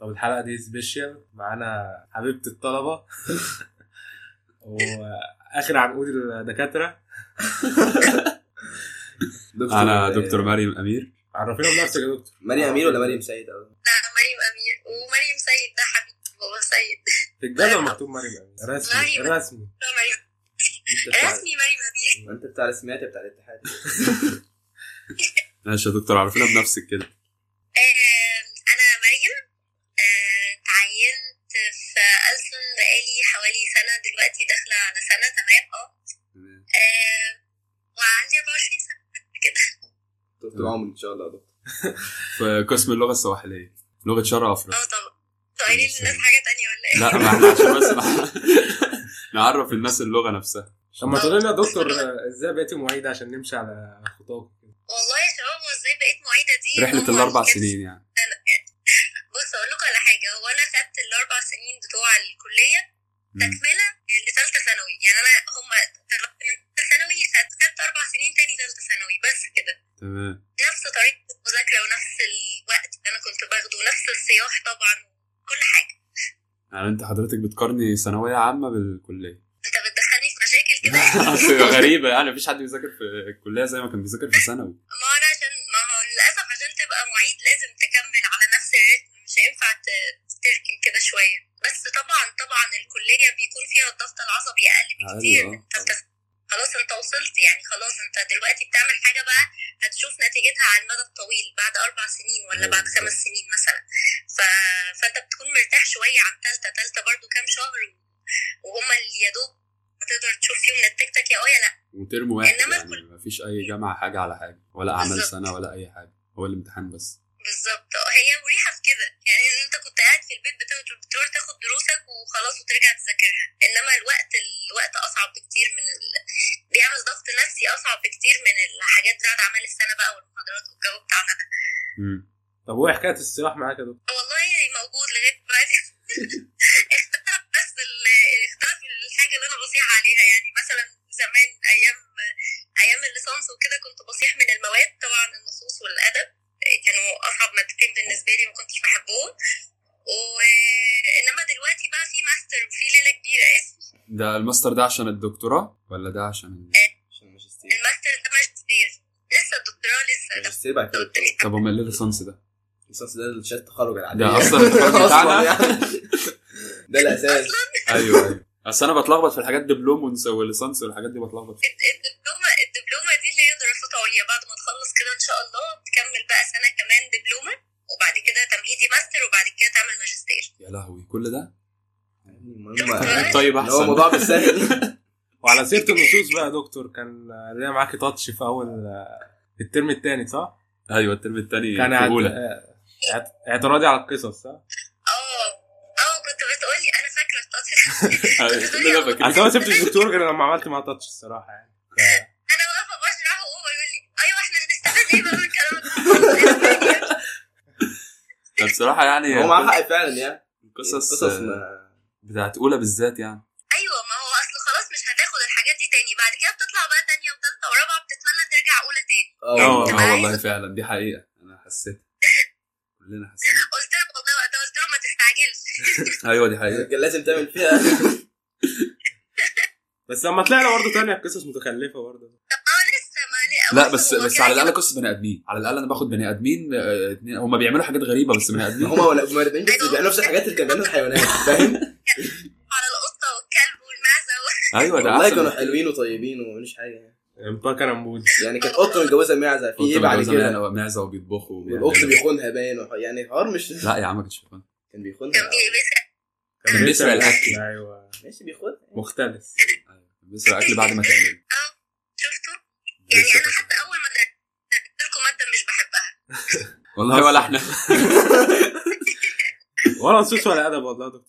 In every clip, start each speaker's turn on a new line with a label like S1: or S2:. S1: طب الحلقه دي سبيشال معانا حبيبه الطلبه واخر عنقود الدكاتره
S2: انا دكتور مريم امير
S1: آه، عرفينا بنفسك يا دكتور
S3: آه، مريم امير ولا مريم سيد أو-
S4: لا مريم امير ومريم سيد ده حبيبي بابا سيد
S1: في الجدول مكتوب مريم أمير. رسمي
S4: مريم.
S1: رسمي
S4: لا مريم
S3: انت
S2: أيوة.
S3: بتاع
S4: رسمي مريم امير
S3: انت بتاع رسميات يا بتاع الاتحاد
S2: ماشي يا دكتور عرفينا بنفسك كده
S4: آه، انا مريم آه، تعينت في ألسن بقالي حوالي سنة دلوقتي داخلة على سنة تمام اه آه، وعندي 24 سنة كده
S3: طول عمرك ان شاء الله يا دكتور
S2: في قسم اللغه السواحليه لغه شرق افريقيا
S4: اه طبعا سؤالي للناس حاجة تانية ولا ايه؟
S2: لا ما احنا عشان بس نع- نعرف الناس اللغة نفسها
S1: طب ما تقول لنا يا دكتور آه، ازاي بقيتي معيده عشان نمشي على خطاك
S4: والله يا شباب هو ازاي بقيت معيدة دي
S2: رحلة
S4: إيه، هو
S2: الأربع
S4: كانت-
S2: سنين يعني
S4: بص اقول لكم على حاجة هو انا خدت الاربع سنين بتوع الكلية
S2: مم.
S4: تكمله لثالثه ثانوي يعني انا هم طلعت من ثالثه ثانوي خدت خدت اربع سنين تاني ثالثه ثانوي بس كده
S2: تمام
S4: نفس طريقه المذاكره ونفس الوقت اللي انا كنت باخده ونفس الصياح طبعا كل حاجه
S2: يعني انت حضرتك بتقارني ثانوية عامة بالكلية
S4: انت بتدخلني في مشاكل كده
S2: أصل غريبة يعني مفيش حد بيذاكر في الكلية زي ما كان بيذاكر في ثانوي
S4: ما انا عشان ما هو للاسف عشان تبقى معيد لازم تكمل على نفس الريتم مش هينفع ت- تركن كده شويه بس طبعا طبعا الكليه بيكون فيها الضغط العصبي اقل بكتير
S2: أيوة.
S4: من ثالثة. خلاص انت وصلت يعني خلاص انت دلوقتي بتعمل حاجه بقى هتشوف نتيجتها على المدى الطويل بعد اربع سنين ولا
S2: أيوة
S4: بعد
S2: بالظبط.
S4: خمس سنين مثلا ف... فانت بتكون مرتاح شويه عن ثالثه ثالثه برضو كام شهر وهما اللي يا دوب هتقدر تشوف فيهم نتيجتك يا اه يا لا
S2: وترم واحد
S4: إنما
S2: يعني مفيش أي جامعة حاجة على حاجة ولا أعمال
S4: بالظبط.
S2: سنة ولا أي حاجة هو الامتحان بس
S4: بالظبط اه هي مريحه في كده يعني ان انت كنت قاعد في البيت بتاع- بتروح تاخد دروسك وخلاص وترجع تذاكرها انما الوقت الوقت اصعب بكتير من ال... بيعمل ضغط نفسي اصعب بكتير من الحاجات بتاعت اعمال السنه بقى والمحاضرات والجو بتاعنا ده
S2: مم.
S1: طب وايه حكايه الصياح معاك يا دكتور
S4: والله موجود لغايه دلوقتي اختلف بس ال... اختلف الحاجه اللي انا بصيح عليها يعني مثلا زمان ايام ايام الليسانس وكده كنت بصيح من المواد طبعا النصوص والادب كانوا اصعب مادتين بالنسبه لي ما كنتش بحبهم وانما دلوقتي بقى في ماستر وفي ليله كبيره اسمي
S2: ده الماستر ده عشان الدكتوراه ولا ده عشان
S3: عشان الماجستير
S4: الماستر ده ماجستير لسه الدكتوراه لسه ده
S3: الماجستير بعد كده
S4: قدامي
S2: طب وما اللي ليسانس ده؟
S3: الرصاص ده شهاده التخرج العاديه
S2: ده أصلا التخرج
S3: أصلاً
S2: بتاعنا
S3: يعني. ده الاساس أيوة،
S2: أيوه أيوه أصل أنا بتلخبط في الحاجات دبلوم ونس- وليسانس والحاجات دي بتلخبط فيها.
S4: الدبلومه الدبلومه دي اللي هي دراسات عليا بعد ما تخلص كده ان شاء الله تكمل بقى سنه كمان دبلومه وبعد كده تمهيدي ماستر وبعد كده تعمل ماجستير
S2: يا لهوي كل ده؟
S3: المهم
S2: طيب
S3: اللي هو
S2: أحسن
S3: الموضوع مش سهل
S1: وعلى سيره النصوص بقى يا دكتور كان آه، ليا معاكي تاتش في اول آه، في الترم الثاني صح؟
S2: ايوه الترم الثاني
S1: كان
S2: في
S1: اعت-
S2: اولى
S1: آه، اعت- اعتراضي على القصص صح؟
S4: اه اه كنت بتقولي انا فاكره التاتش
S2: أيوة، كلنا فاكرين.
S1: انا ما سبتش الدكتور غير لما عملت مع تاتش الصراحه يعني ف-
S4: انا واقفه بشرحه وهو يقول لي ايوه احنا هنستفاد ايه بقى من كلامك
S2: طب بصراحه يعني
S3: هو معاه حق فعلا يعني
S2: القصص
S3: قصص ما
S2: بتاعت اولى بالذات يعني
S4: ايوه ما هو اصل خلاص مش هتاخد الحاجات دي تاني بعد كده بتطلع بقى تانية وتالتة ورابعة بتتمنى ترجع اولى تاني
S2: اه
S3: اه
S2: آه، والله فعلا دي حقيقه انا حسيت كلنا حسينا
S4: قلت له والله وقتها قلت له ما تستعجلش
S2: ايوه دي حقيقه
S3: كان لازم تعمل فيها
S1: بس لما طلعنا برضه تانية قصص متخلفه برضه
S4: طب ما هو لسه ما ليه-
S2: لا
S4: بص،
S2: بس
S4: هو
S2: بس
S4: كده
S2: على الاقل
S4: كده-
S2: قصص بني ادمين على الاقل انا باخد بني ادمين آه، اتنين هم بيعملوا حاجات غريبه بس بني ادمين
S3: هما ولا- هما الاثنين بس بيعملوا نفس الحاجات اللي كانوا بيعملوها الحيوانات فاهم
S4: على القطه والكلب والمعزه و...
S2: ايوه ده
S3: والله كانوا
S2: احسن
S3: حلوين وطيبين ومش حاجه يعني.
S1: امبارح كان أنبوذ.
S3: يعني كانت قطه متجوزه معزه في ايه بعد كده
S2: معزه وبيطبخوا
S3: والاخت بيخونها باين وح- يعني حوار مش
S2: لا يا عم ما كانش في فن.
S3: كان
S4: كان
S2: آه.
S3: بيخونها
S4: بيسأل
S2: كان بيسرق الأكل.
S1: ايوه
S3: ماشي بيخونها
S1: مختلف
S2: أيوة، بيسرق اكل بعد ما تعمله
S4: شفته يعني انا حتى اول ما درست لكم ماده مش بحبها
S2: والله ولا احنا
S1: ولا نصوص ولا ادب والله يا دكتور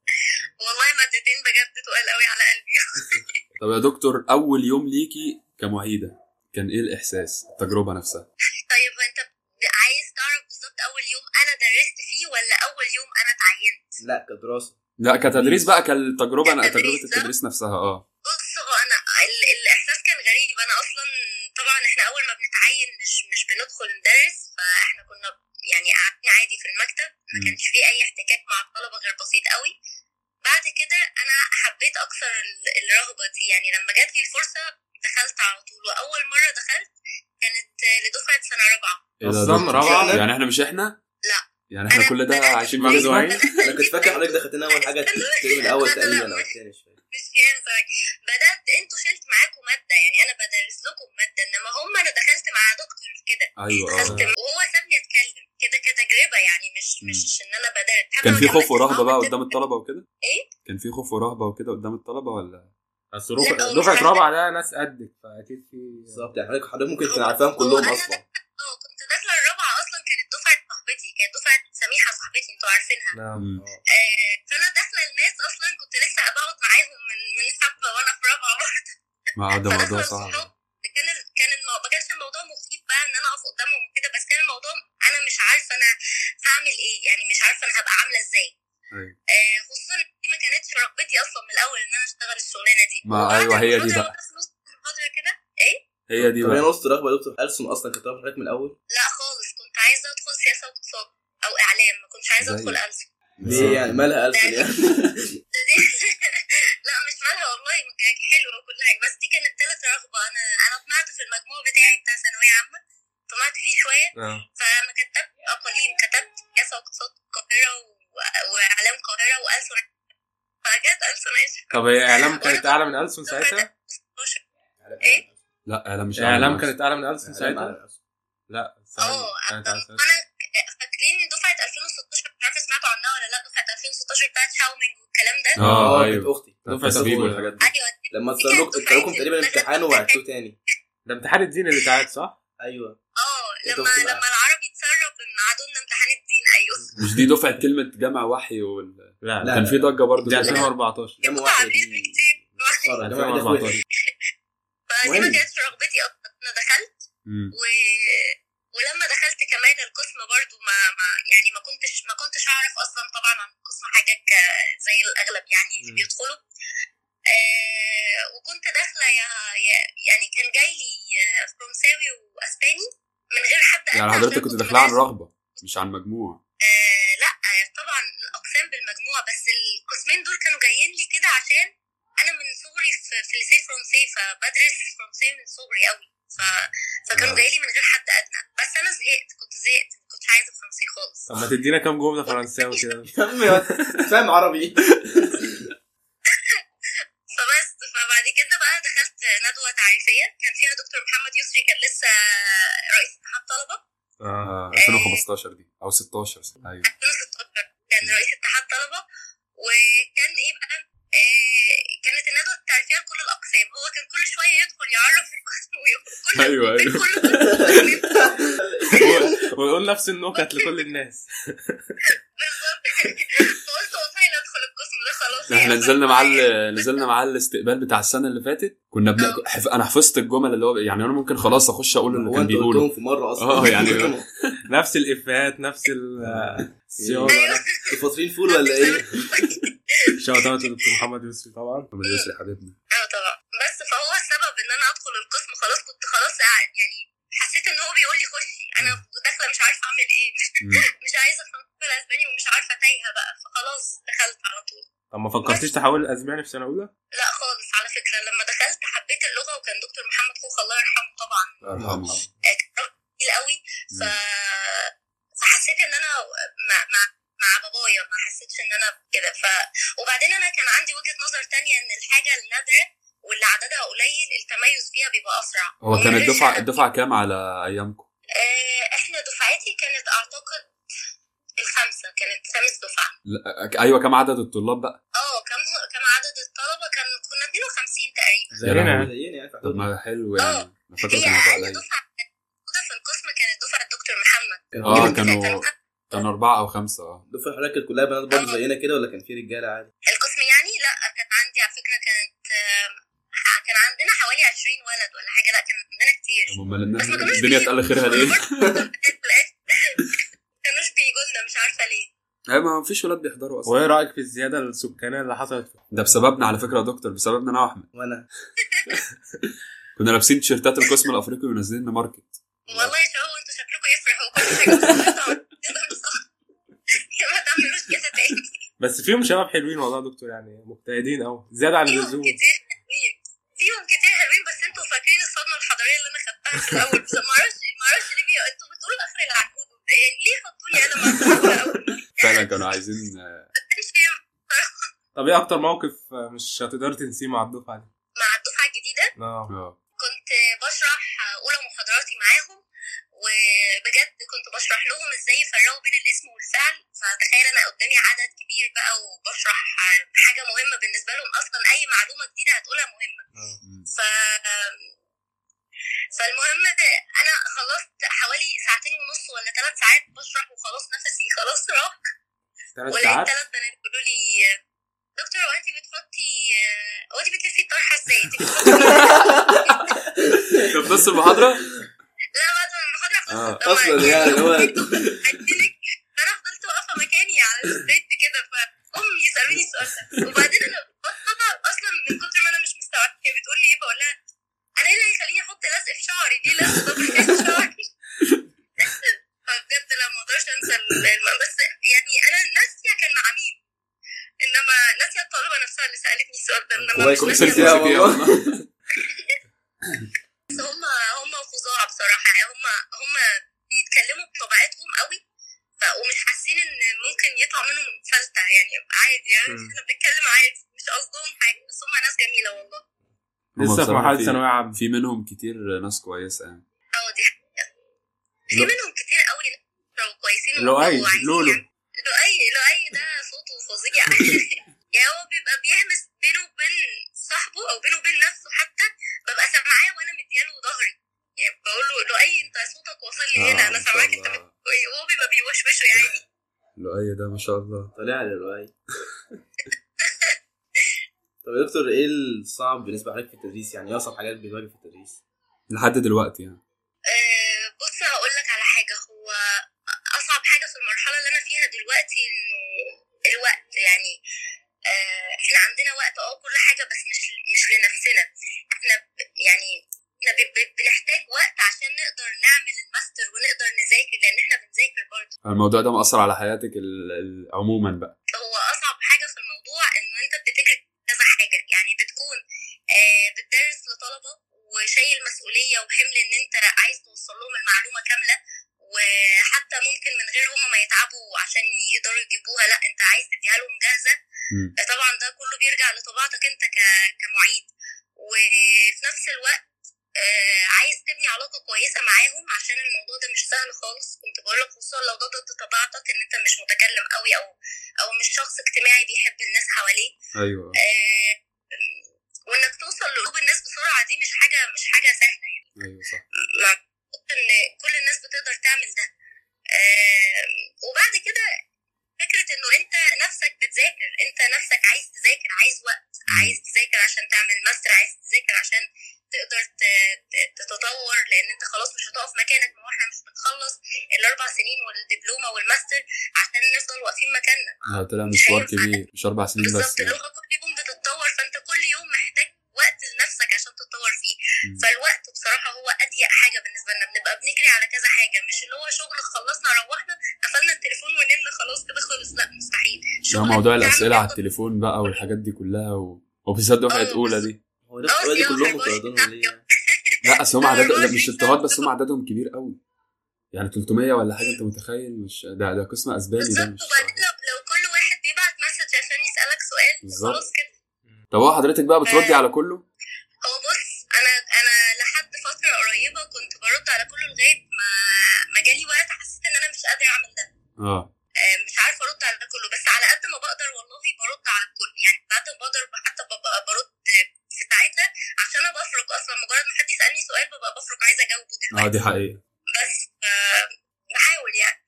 S4: والله مادتين بجد تقال قوي على قلبي
S2: طب يا دكتور اول يوم ليكي كمعيده كان ايه الاحساس التجربه نفسها
S4: طيب انت عايز تعرف بالظبط اول يوم انا درست فيه ولا اول يوم انا اتعينت
S3: لا كدراسه
S2: لا كتدريس بقى كالتجربه أنا-
S4: كتدريس آه.
S2: تجربه
S4: ده؟
S2: التدريس نفسها اه
S4: بص هو انا ال- الاحساس كان غريب انا اصلا طبعا احنا اول ما بنتعين مش مش بندخل ندرس فاحنا كنا يعني قعدنا عادي في المكتب ما
S2: مم.
S4: كانش فيه اي احتكاك مع الطلبه غير بسيط قوي بعد كده انا حبيت اكثر ال- الرهبه دي يعني لما جات لي الفرصه دخلت على طول واول مره دخلت كانت لدفعه سنه رابعه
S2: إيه ده يا
S1: أصلاً
S2: دكتور؟
S1: رابعة؟
S2: يعني احنا مش احنا؟
S4: لا.
S2: يعني احنا
S4: أنا- أيوة،
S2: كل ده
S4: أنا-
S2: عايشين
S1: مع
S2: مع
S1: زواج
S2: زواج
S3: انا كنت فاكر حضرتك دخلتنا اول حاجه الترم الاول تقريبا او الثاني مش فاكر
S4: مش فاهم سوري بدات انتوا شلت معاكم ماده يعني انا بدرس لكم ماده انما هم انا دخلت مع دكتور كده
S2: ايوه
S4: دخلت
S2: اه
S4: وهو سابني اتكلم كده كتجربه يعني مش مش ان انا بدرس حتى
S2: كان
S4: ما
S2: في خوف
S4: كملتش
S2: ورهبه
S4: معاهم
S2: بقى
S4: الترم
S2: قدام الطلبه وكده؟
S4: إيه؟
S2: كان في خوف ورهبه وكده قدام الطلبه ولا؟
S1: بس
S4: لا،
S1: رفع-
S4: هو
S1: دفعه
S4: مش
S1: رابعه ده ناس قدك فاكيد في
S3: بالظبط يعني حضرتك حضرتك ممكن تكون عارفاهم كلهم اصلا
S4: اه كنت داخله الرابعه اصلا كانت دفعه صاحبتي كانت دفعه سميحه صاحبتي انتوا عارفينها
S1: نعم
S2: مم.
S4: آه، فانا داخله الناس اصلا كنت لسه بقعد معاهم من من حبه وانا في رابعه برضه
S2: ما اه، ده
S4: فداخلة
S2: موضوع صعب
S4: الصحاب كان ال- كان المو... ما كانش الموضوع مخيف بقى ان انا اقف قدامهم وكده بس كان الموضوع انا مش عارفه انا هعمل ايه يعني مش عارفه انا هبقى عامله ازاي
S2: أيوة.
S4: آه، خصوصا إن دي ما كانتش رغبتي اصلا من الاول ان انا اشتغل الشغلانه دي
S2: ما
S4: وبعد
S2: أيوة، هي دي
S4: المحاضرة
S2: بقى.
S4: وأنا في نص المحاضره كده
S2: هي دي
S3: طب هي
S2: بقى
S3: نص رغبه يا دكتور ألسن اصلا كانت رغبه حضرتك من الاول
S4: لا خالص كنت عايزه ادخل سياسه واقتصاد او اعلام ما كنتش عايزه
S2: زي-
S4: ادخل ألسن
S3: ليه يعني مالها ألسن يعني
S4: لا مش مالها والله كانت حلوه وكلها بس دي كانت تالت رغبه انا انا طمعت في المجموع بتاعي بتاع ثانويه عامه طمعت فيه شويه
S1: آه.
S4: فانا كتبت اقاليم كتبت سياسه واقتصاد القاهره و- واعلام القاهره والسن فجت ألسن عشرة.
S1: طب هي اعلام كانت اعلى من ألسن ساعتها؟
S2: لا اعلام مش
S1: اعلام
S2: أعلام.
S1: كانت اعلى من ألسن ساعتها؟ لا
S4: اه
S3: يعني
S1: كانت أعلى ساعتها.
S4: انا فاكرين دفعه 2016 مش عارفه سمعتوا عنها ولا لا دفعه 2016 بتاعت شاومينج والكلام ده
S2: اه
S3: اه كانت
S2: ايوه
S3: اختي
S1: دفعة
S2: التسريب
S1: أولى.
S2: والحاجات دي
S4: ايوه دي-
S3: لما اتسالوك اتسالوكم تقريبا امتحان وعدتوه تاني
S1: ده امتحان الدين اللي تعاد صح؟
S3: ايوه
S4: اه
S3: يا
S4: لما
S3: دكتور بقى.
S4: لما العربي اتسرب من عدونا امتحان الدين ايوه
S2: مش دي دفعه كلمه جامع وحي وال...
S1: لا
S3: لا،
S2: كان
S3: لا،
S2: في ضجه برضه
S1: دي
S2: كده.
S1: 2014
S3: جامعه واحده دي مسخرة، جامعة واحدة في وحدة.
S1: 2014
S4: فدي ما
S3: مهم.
S4: كانتش رغبتي اصلا انا دخلت
S2: مم.
S4: و... ولما دخلت كمان القسم برضو ما, ما يعني ما كنتش ما كنتش اعرف اصلا طبعا عن القسم حاجه ك- زي الاغلب يعني اللي
S1: مم.
S4: بيدخلوا آه وكنت داخله يا يا- يعني كان جاي لي آه، فرنساوي واسباني من غير حد
S2: يعني
S4: أدفع
S2: حضرتك
S4: عشان
S2: كنت
S4: كنت
S2: داخلها عن
S4: بدرس.
S2: رغبه مش عن مجموع
S4: آه لا آه، طبعا الاقسام بالمجموع بس القسمين دول كانوا جايين لي كده عشان انا من صغري في في ليسيه فرنسي فبدرس فرنسي من صغري قوي ف... فكانوا
S2: آه.
S4: جايين لي من غير حد ادنى بس انا زهقت كنت زهقت ما كنتش عايزه فرنسي خالص
S1: طب ما تدينا كام جمله فرنساوي كده
S3: يا عم يا فاهم عربي
S4: فبس فبعد كده بقى دخلت ندوه تعريفيه كان فيها دكتور محمد يسري كان لسه رئيس اتحاد طلبه
S1: اه
S2: آه 2015 دي او 16 ايوه
S4: 2016 كان رئيس اتحاد طلبه وكان ايه بقى آه، كانت الندوه التعريفيه لكل الاقسام هو كان كل شويه يدخل يعرف القسم ويقول كل
S2: ايوه ايوه
S4: كل قسم
S1: ويقول- ويقول نفس النكت لكل الناس
S4: بالظبط فقلت والله لا ادخل القسم ده خلاص
S2: احنا
S4: يعني.
S2: نزلنا معاه ال- نزلنا معاه الاستقبال بتاع السنه اللي فاتت كنا بنا... حف... انا حفظت الجمل اللي هو يعني انا ممكن خلاص اخش اقول اللي
S3: هو
S2: كان
S3: انت
S2: بيقوله
S3: قلتهم في مره اصلا
S2: آه، يعني-
S1: نفس الافيهات نفس ال- آه،
S2: أيوه.
S1: الصياغه
S3: انتوا فاصلين فول ولا ايه؟
S1: شوت اوت لدكتور محمد يوسف طبعا
S2: محمد ياسر حبيبنا
S4: اه طبعا بس فهو السبب ان انا ادخل القسم خلاص كنت خلاص قاعد- يعني حسيت ان هو بيقول لي خشي انا داخله مش عارفه اعمل ايه
S2: مم.
S4: مش عايزه فرنسي ولا اسباني ومش عارفه تايهه بقى فخلاص دخلت على طول
S1: طب ما فكرتيش تحول الاسباني في سنه اولى؟
S4: لا خالص على فكرة لما دخلت حبيت اللغة وكان دكتور محمد خوخ الله يرحمه طبعا
S2: الله يرحمه
S4: آه، كان راجل تقيل قوي ف... فحسيت ان انا مع مع مع بابايا ما حسيتش ان انا كده ف وبعدين انا كان عندي وجهة نظر تانية ان الحاجة النادرة واللي عددها قليل التميز فيها بيبقى اسرع
S2: هو كان
S4: ومن غير
S2: الدفعه
S4: شغف.
S2: الدفعه كام على ايامكم؟
S4: آه، احنا دفعتي كانت اعتقد الخمسة كانت خامس دفعة
S2: لا... ايوه كام عدد الطلاب بقى؟
S4: اه كم كم عدد الطلبة كان كنا 52 تقريبا
S1: زينا
S3: زينا يعني
S2: طب ما حلو يعني انا فاكر
S4: هي
S2: كان هيبقى
S4: اقل
S2: قليل
S4: دفعه كانت موجوده في القسم كانت دفعه الدكتور محمد
S2: اه
S3: اه
S2: كانوا كانوا اربعه او خمسه اه
S3: دفعة حضرتك كانت كلها بنات برضه زينا كده ولا كان في رجاله عادي؟
S4: القسم يعني لا كانت عندي على فكره كانت آم، كان عندنا حوالي 20 ولد ولا حاجه لا كان عندنا كتير
S2: طب امال الناس- الدنيا اتقل خيرها ليه؟
S4: كانوش بيجوا لنا مش عارفه ليه
S2: ايوه ما فيش ولاد بيحضروا اصلا
S1: وايه رايك في الزياده السكانيه اللي حصلت في
S2: ده بسببنا على فكره يا دكتور بسببنا انا واحمد
S3: وانا
S2: كنا لابسين تيشيرتات القسم الافريقي ونازلين ماركت
S4: والله يا شباب انتوا شكلكم يفرحوا كل حاجه بتطلع- بتطلع صح. عادي
S1: بس فيهم شباب حلوين والله يا دكتور يعني مجتهدين قوي زياده عن
S4: فيهم
S1: اللزوم
S4: كتير حلوين فيهم كتير حلوين بس انتوا فاكرين الصدمه الحضاريه اللي انا خدتها في الاول بس ما اعرفش ما اعرفش ليه بي- انتوا بتقولوا الاخر العنكود وبتاع. إيه، ليه حطوا لي انا مع الصدمه الاول
S2: فعلا كانوا عايزين آه،
S4: مش فاهم
S1: طب ايه اكتر موقف آه، مش هتقدر تنسيه مع الدفعه دي؟
S4: مع الدفعه الجديده
S1: اه
S2: آه.
S4: كنت بشرح اولى محاضراتي معاهم وبجد كنت بشرح لهم ازاي يفرقوا بين الاسم والفعل فتخيل انا قدامي عدد كبير بقى وبشرح حاجه مهمه بالنسبه لهم اصلا اي معلومه جديده هتقولها مهمه
S2: مم.
S4: ف فالمهم انا خلصت حوالي ساعتين ونص ولا ثلاث ساعات بشرح وخلاص نفسي خلاص راح
S1: ثلاث
S4: ولقيت
S1: ساعات
S4: ثلاث بنات بيقولوا لي دكتور هو انت بتحطي هو انت بتلفي الطرحه ازاي؟ انت بتحطي
S2: طب نص المحاضره
S4: لا بعد ما المحاضره
S2: آه،
S4: خلصت
S3: أصلاً يعني هو-
S4: هديلك فانا فضلت واقفه مكاني على الستيج كده فهم يسالوني السؤال ده وبعدين انا بطلع اصلا من كتر ما انا مش مستوعبه هي بتقول لي ايه بقول لها انا ايه اللي هيخليني احط لزق في شعري ليه لزق طب ليه في شعري فبجد لا ما اقدرش انسى الم- بس يعني انا ناسيه كان مع مين انما ناسيه الطالبه نفسها اللي سالتني السؤال ده انما
S3: كويس
S4: مش
S3: كويس
S2: كنت
S4: ناسية
S3: يا
S2: سلسلة سيدي
S3: والله.
S2: يا إيه والله.
S4: بس هم هم فظاع بصراحه هم هم بيتكلموا بطبيعتهم قوي ف- ومش حاسين ان ممكن يطلع منهم فلتة يعني عادي يعني
S1: مم.
S4: احنا بنتكلم عادي مش قصدهم حاجه بس هم ناس جميله والله
S1: لسه في
S2: بصراحة
S1: مرحله
S2: في-
S1: ثانويه عامه
S2: في منهم كتير ناس كويسه يعني
S4: اه دي حقيقة. في
S2: لو-
S4: منهم كتير قوي ناس كويسين
S1: لؤي
S4: ومتطوعين
S1: لولو
S4: يعني. لؤي لؤي ده صوته فظيع يعني هو بيبقى بيهمس بينه وبين صاحبه او بينه وبين نفسه حتى ببقى سامعاه وانا مدياله ظهري يعني بقول له لؤي انت صوتك واصل لي هنا
S2: آه،
S4: انا
S2: ما شاء
S4: سامعاك انت
S2: الله.
S4: بت- وهو بيبقى بيوشوشه يعني
S2: لؤي ده ما شاء الله
S3: طلع لي الوعي طب يا دكتور ايه الصعب بالنسبه عليك في التدريس يعني ايه اصعب حاجات بتواجهك في التدريس؟
S2: لحد دلوقتي يعني
S4: آه، بص هقول لك على حاجه هو اصعب حاجه في المرحله اللي انا فيها دلوقتي انه الوقت يعني آه، احنا عندنا وقت اه كل حاجه بس مش مش لنفسنا احنا ب- يعني احنا ب- ب- بنحتاج وقت عشان نقدر نعمل الماستر ونقدر نذاكر لان احنا بنذاكر برضه
S2: الموضوع ده مأثر على حياتك ال- ال- عموما بقى
S4: هو اصعب حاجه في الموضوع انه انت بتجري كذا حاجه يعني بتكون آه، بتدرس لطلبه وشايل مسؤوليه وحمل ان انت عايز توصل لهم المعلومه كامله وحتى ممكن من غير هما ما يتعبوا عشان يقدروا يجيبوها لا انت عايز تديها لهم جاهزه
S2: مم.
S4: طبعا ده كله بيرجع لطبيعتك انت ك- كمعيد وفي نفس الوقت آه، عايز تبني علاقه كويسه معاهم عشان الموضوع ده مش سهل خالص كنت بقول لك خصوصا لو ده ضد طبيعتك ان انت مش متكلم قوي او او مش شخص اجتماعي بيحب الناس حواليه
S1: أيوة.
S2: ايوه
S4: آه، وانك توصل لقلوب الناس بسرعه دي مش حاجه مش حاجه سهله يعني
S1: أيوة
S2: ايوه صح
S4: ما أعتقدش ان كل الناس بتقدر تعمل ده آه، وبعد كده فكره انه انت نفسك بتذاكر انت نفسك عايز تذاكر عايز وقت عايز تذاكر عشان تعمل ماستر عايز تذاكر عشان تقدر ت- ت- تتطور لان انت خلاص مش هتقف مكانك ما هو احنا مش بنخلص الاربع سنين والدبلومه والماستر عشان نفضل واقفين مكاننا
S2: آه، طلع مشوار كبير مش اربع سنين بس
S4: أيوة، بالظبط
S2: يعني.
S4: اللغه كل يوم بتتطور فانت كل يوم محتاج وقت لنفسك عشان تتطور فيه
S2: مم.
S4: فالوقت بصراحه هو اضيق حاجه بالنسبه لنا بنبقى بنجري على كذا حاجه مش اللي هو شغل خلصنا روحنا قفلنا التليفون ونمنا خلاص كده خلص لا مستحيل
S2: ده
S4: شغل
S2: موضوع
S4: بتعمل
S2: الاسئله على
S4: كذا-
S2: التليفون بقى والحاجات دي كلها و... وبالذات دفعه
S4: آه،
S2: اولى دي
S3: هو ده هو دي كلهم مترددين ليه؟ يعني؟
S2: لا اصل هم
S4: آه،
S2: عددهم لا،
S4: بص،
S2: مش اضطهاد بس هم عددهم كبير قوي يعني 300 ولا حاجه انت متخيل مش ده ده قسم اسباني ده
S4: بالظبط
S2: مش
S4: وبعدين لو, لو كل واحد بيبعت مسج عشان يسالك سؤال
S2: بالظبط.
S4: خلاص كده
S2: آه. طب هو حضرتك بقى بتردي
S4: آه.
S2: على كله؟
S4: هو بص انا انا لحد فتره قريبه كنت برد على كله لغايه ما ما جالي وقت حسيت ان انا مش قادره اعمل ده
S2: اه
S4: آه، مش عارفه ارد على ده كله بس على قد ما بقدر والله برد على الكل يعني ساعات بقدر حتى ببقى برد في ساعتها عشان انا بفرق اصلا مجرد ما حد يسالني سؤال ببقى بفرق عايزه اجاوبه
S2: اه
S4: دلوقتي
S2: دي حقيقه
S4: بس آه، بحاول يعني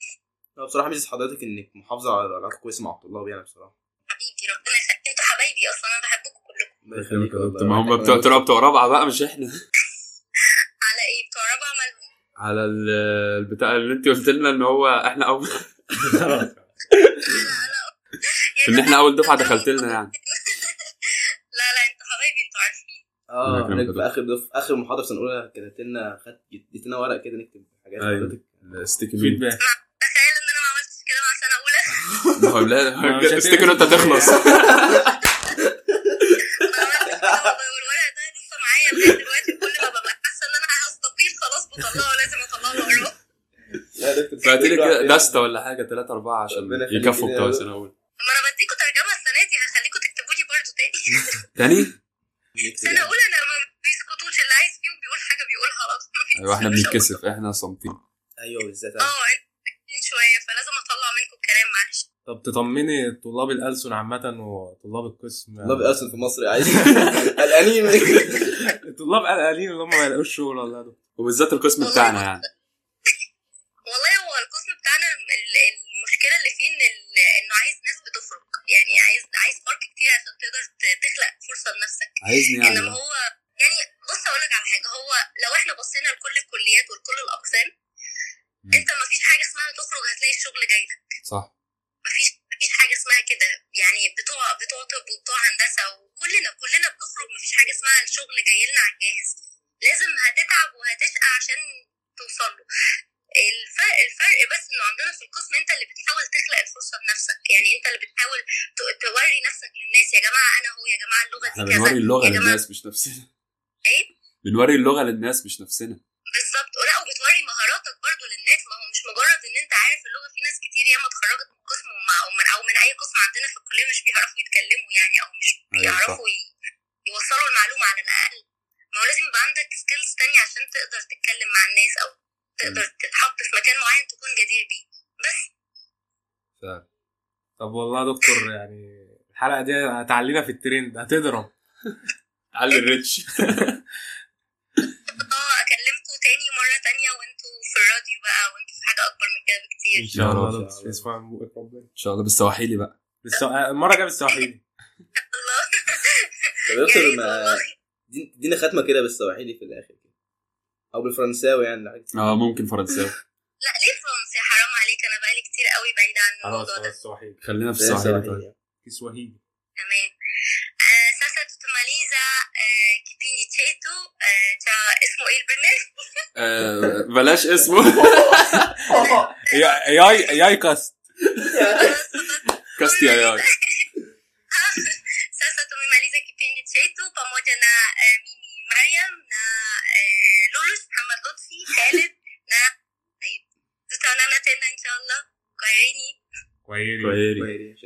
S3: هو بصراحه ميزه حضرتك انك محافظه على علاقه كويسه مع الطلاب يعني بصراحه
S4: حبيبي ربنا يخليك انتوا حبايبي اصلا انا بحبكم كلكم
S3: الله يخليك والله.
S2: ما هم بتوع ترى بتوع رابعه بقى مش احنا
S4: على ايه بتوع رابعه مالهم
S2: على ال- البتاع اللي انت قلت لنا ان هو احنا اول
S4: يعني
S2: ان احنا اول دفعه دخلت لنا يعني
S4: لا لا انتوا حبايبي انتوا عارفين
S3: اه
S2: الله يكرمك
S3: حضرتك في اخر دف... اخر محاضره في سنه اولى كتبت لنا خدت اديت لنا ورق كده نكتب حاجات
S2: أيوة.
S3: حضرتك
S2: الستيكي نوت.
S1: فيدباك
S4: تخيل ان انا ما عملتش كده مع سنه اولى
S2: ما هو لا
S1: ما مش
S2: افتكر انت
S1: هتنزل.
S2: تخلص
S4: ما عملتش كده والله والورق ده لسه معايا لغايه دلوقتي كل ما ببقى حاسه ان انا هستطيل خلاص بطلعه لازم اطلعه واقراه
S3: لا، ده كنت
S2: بعت لي
S3: بتقول
S2: كده
S3: لوحدي.
S2: دستة ولا حاجة تلاتة أربعة عشان
S3: ربنا يخليك
S2: يكفوا
S3: لينا
S2: بتوع
S3: يا
S2: السنة الأولى
S4: ما انا بديكوا ترجمه السنه دي هخليكوا تكتبوا لي برضه تاني
S2: تاني؟
S4: سنه اولى انا ما بيسكتوش اللي عايز فيهم بيقول حاجه بيقولها على طول ما
S2: أيوة احنا
S4: بيسكتوش.
S2: بنتكسف احنا صامتين
S3: ايوه بالذات أنا.
S4: اه انتوا ساكتين شويه فلازم اطلع منكم الكلام معلش
S1: طب تطمني طلاب الألسن عامة وطلاب القسم
S3: والله بيأسن في مصر عايز قلقانين منك.
S1: الطلاب قلقانين اللي هم ما يلاقوش شغل والله دول
S2: وبالذات القسم بتاعنا يعني
S4: والله هو القسم بتاعنا ال- المشكله اللي فيه ان ال- انه عايز ناس بتفرق يعني عايز عايز فرق كتير عشان تقدر ت- تخلق فرصه لنفسك
S2: عايزني
S4: انما
S2: يعني
S4: هو يعني بص اقول لك على حاجه هو لو احنا بصينا لكل الكليات ولكل الاقسام
S2: مم.
S4: انت ما فيش حاجه اسمها تخرج هتلاقي الشغل جاي لك
S2: صح
S4: ما فيش ما فيش حاجه اسمها كده يعني بتوع بتوع طب وبتوع هندسه وكلنا كلنا بنخرج ما فيش حاجه اسمها الشغل جاي لنا على الجاهز لازم هتتعب وهتشقى عشان توصل له الفرق الفرق بس انه عندنا في القسم انت اللي بتحاول تخلق الفرصه لنفسك يعني انت اللي بتحاول ت- توري نفسك للناس يا جماعه انا اهو يا جماعه اللغه دي
S2: احنا
S4: كذا
S2: بنوري اللغة
S4: يا جماعة
S2: للناس مش نفسنا
S4: إيه؟
S2: بنوري اللغة للناس مش نفسنا
S4: بالظبط لا وبتوري مهاراتك برضو للناس ما هو مش مجرد ان انت عارف اللغه في ناس كتير ياما اتخرجت من قسم ومع او من او من اي قسم عندنا في الكليه مش بيعرفوا يتكلموا يعني او مش
S2: أيوة،
S4: بيعرفوا ي- يوصلوا المعلومه على الاقل ما هو لازم يبقى عندك سكيلز تانية عشان تقدر تتكلم مع الناس او تقدر تتحط في مكان معين تكون جدير بيه بس
S2: فعلا
S1: طب والله يا دكتور يعني الحلقة دي هتعلينا في الترند هتضرب
S2: علي الريتش
S4: اه اكلمكم تاني مره تانية وانتوا في الراديو بقى وانتوا في حاجه اكبر من كده بكتير
S1: إن شاء الله يا
S2: إن شاء
S1: دكتور
S3: الله.
S1: اسمع من بقك ربنا
S2: ان شاء الله بالسواحيلي بقى
S1: بالسوا- المرة الجاية بالسواحيلي
S4: الله
S3: طب
S4: يا
S3: دكتور
S4: ريت
S3: ما
S4: والله
S3: دي- ادينا ختمه كده بالسواحيلي في الاخر كده. او بالفرنساوي يعني لو
S2: اه ممكن فرنساوي
S4: لا ليه فرنسي حرام عليك انا بقالي كتير قوي بعيدة عن
S1: خلاص
S4: الموضوع
S1: خلاص،
S4: ده
S1: السواحيلي
S2: خلينا في السواحيلي طيب
S3: سواحيلي
S1: كسواهيلي
S4: تمام آه ساسا توتماليزا آه كيبيني تشيتو آه تا- اسمه ايه البرنامج؟
S2: آه، بلاش اسمه
S1: يا- ياي ياي كاست
S3: آه.
S4: خلاص،
S2: كاستيا ياي
S4: ساسا توتماليزا كيبيني تشيتو pamoja na آه، ميمي مريم na eh, آه، لولوس محمد لطفي خالد na طيب تتعلمنا تاني ان شاء الله كويريني
S1: كويري
S2: كويري
S3: كويس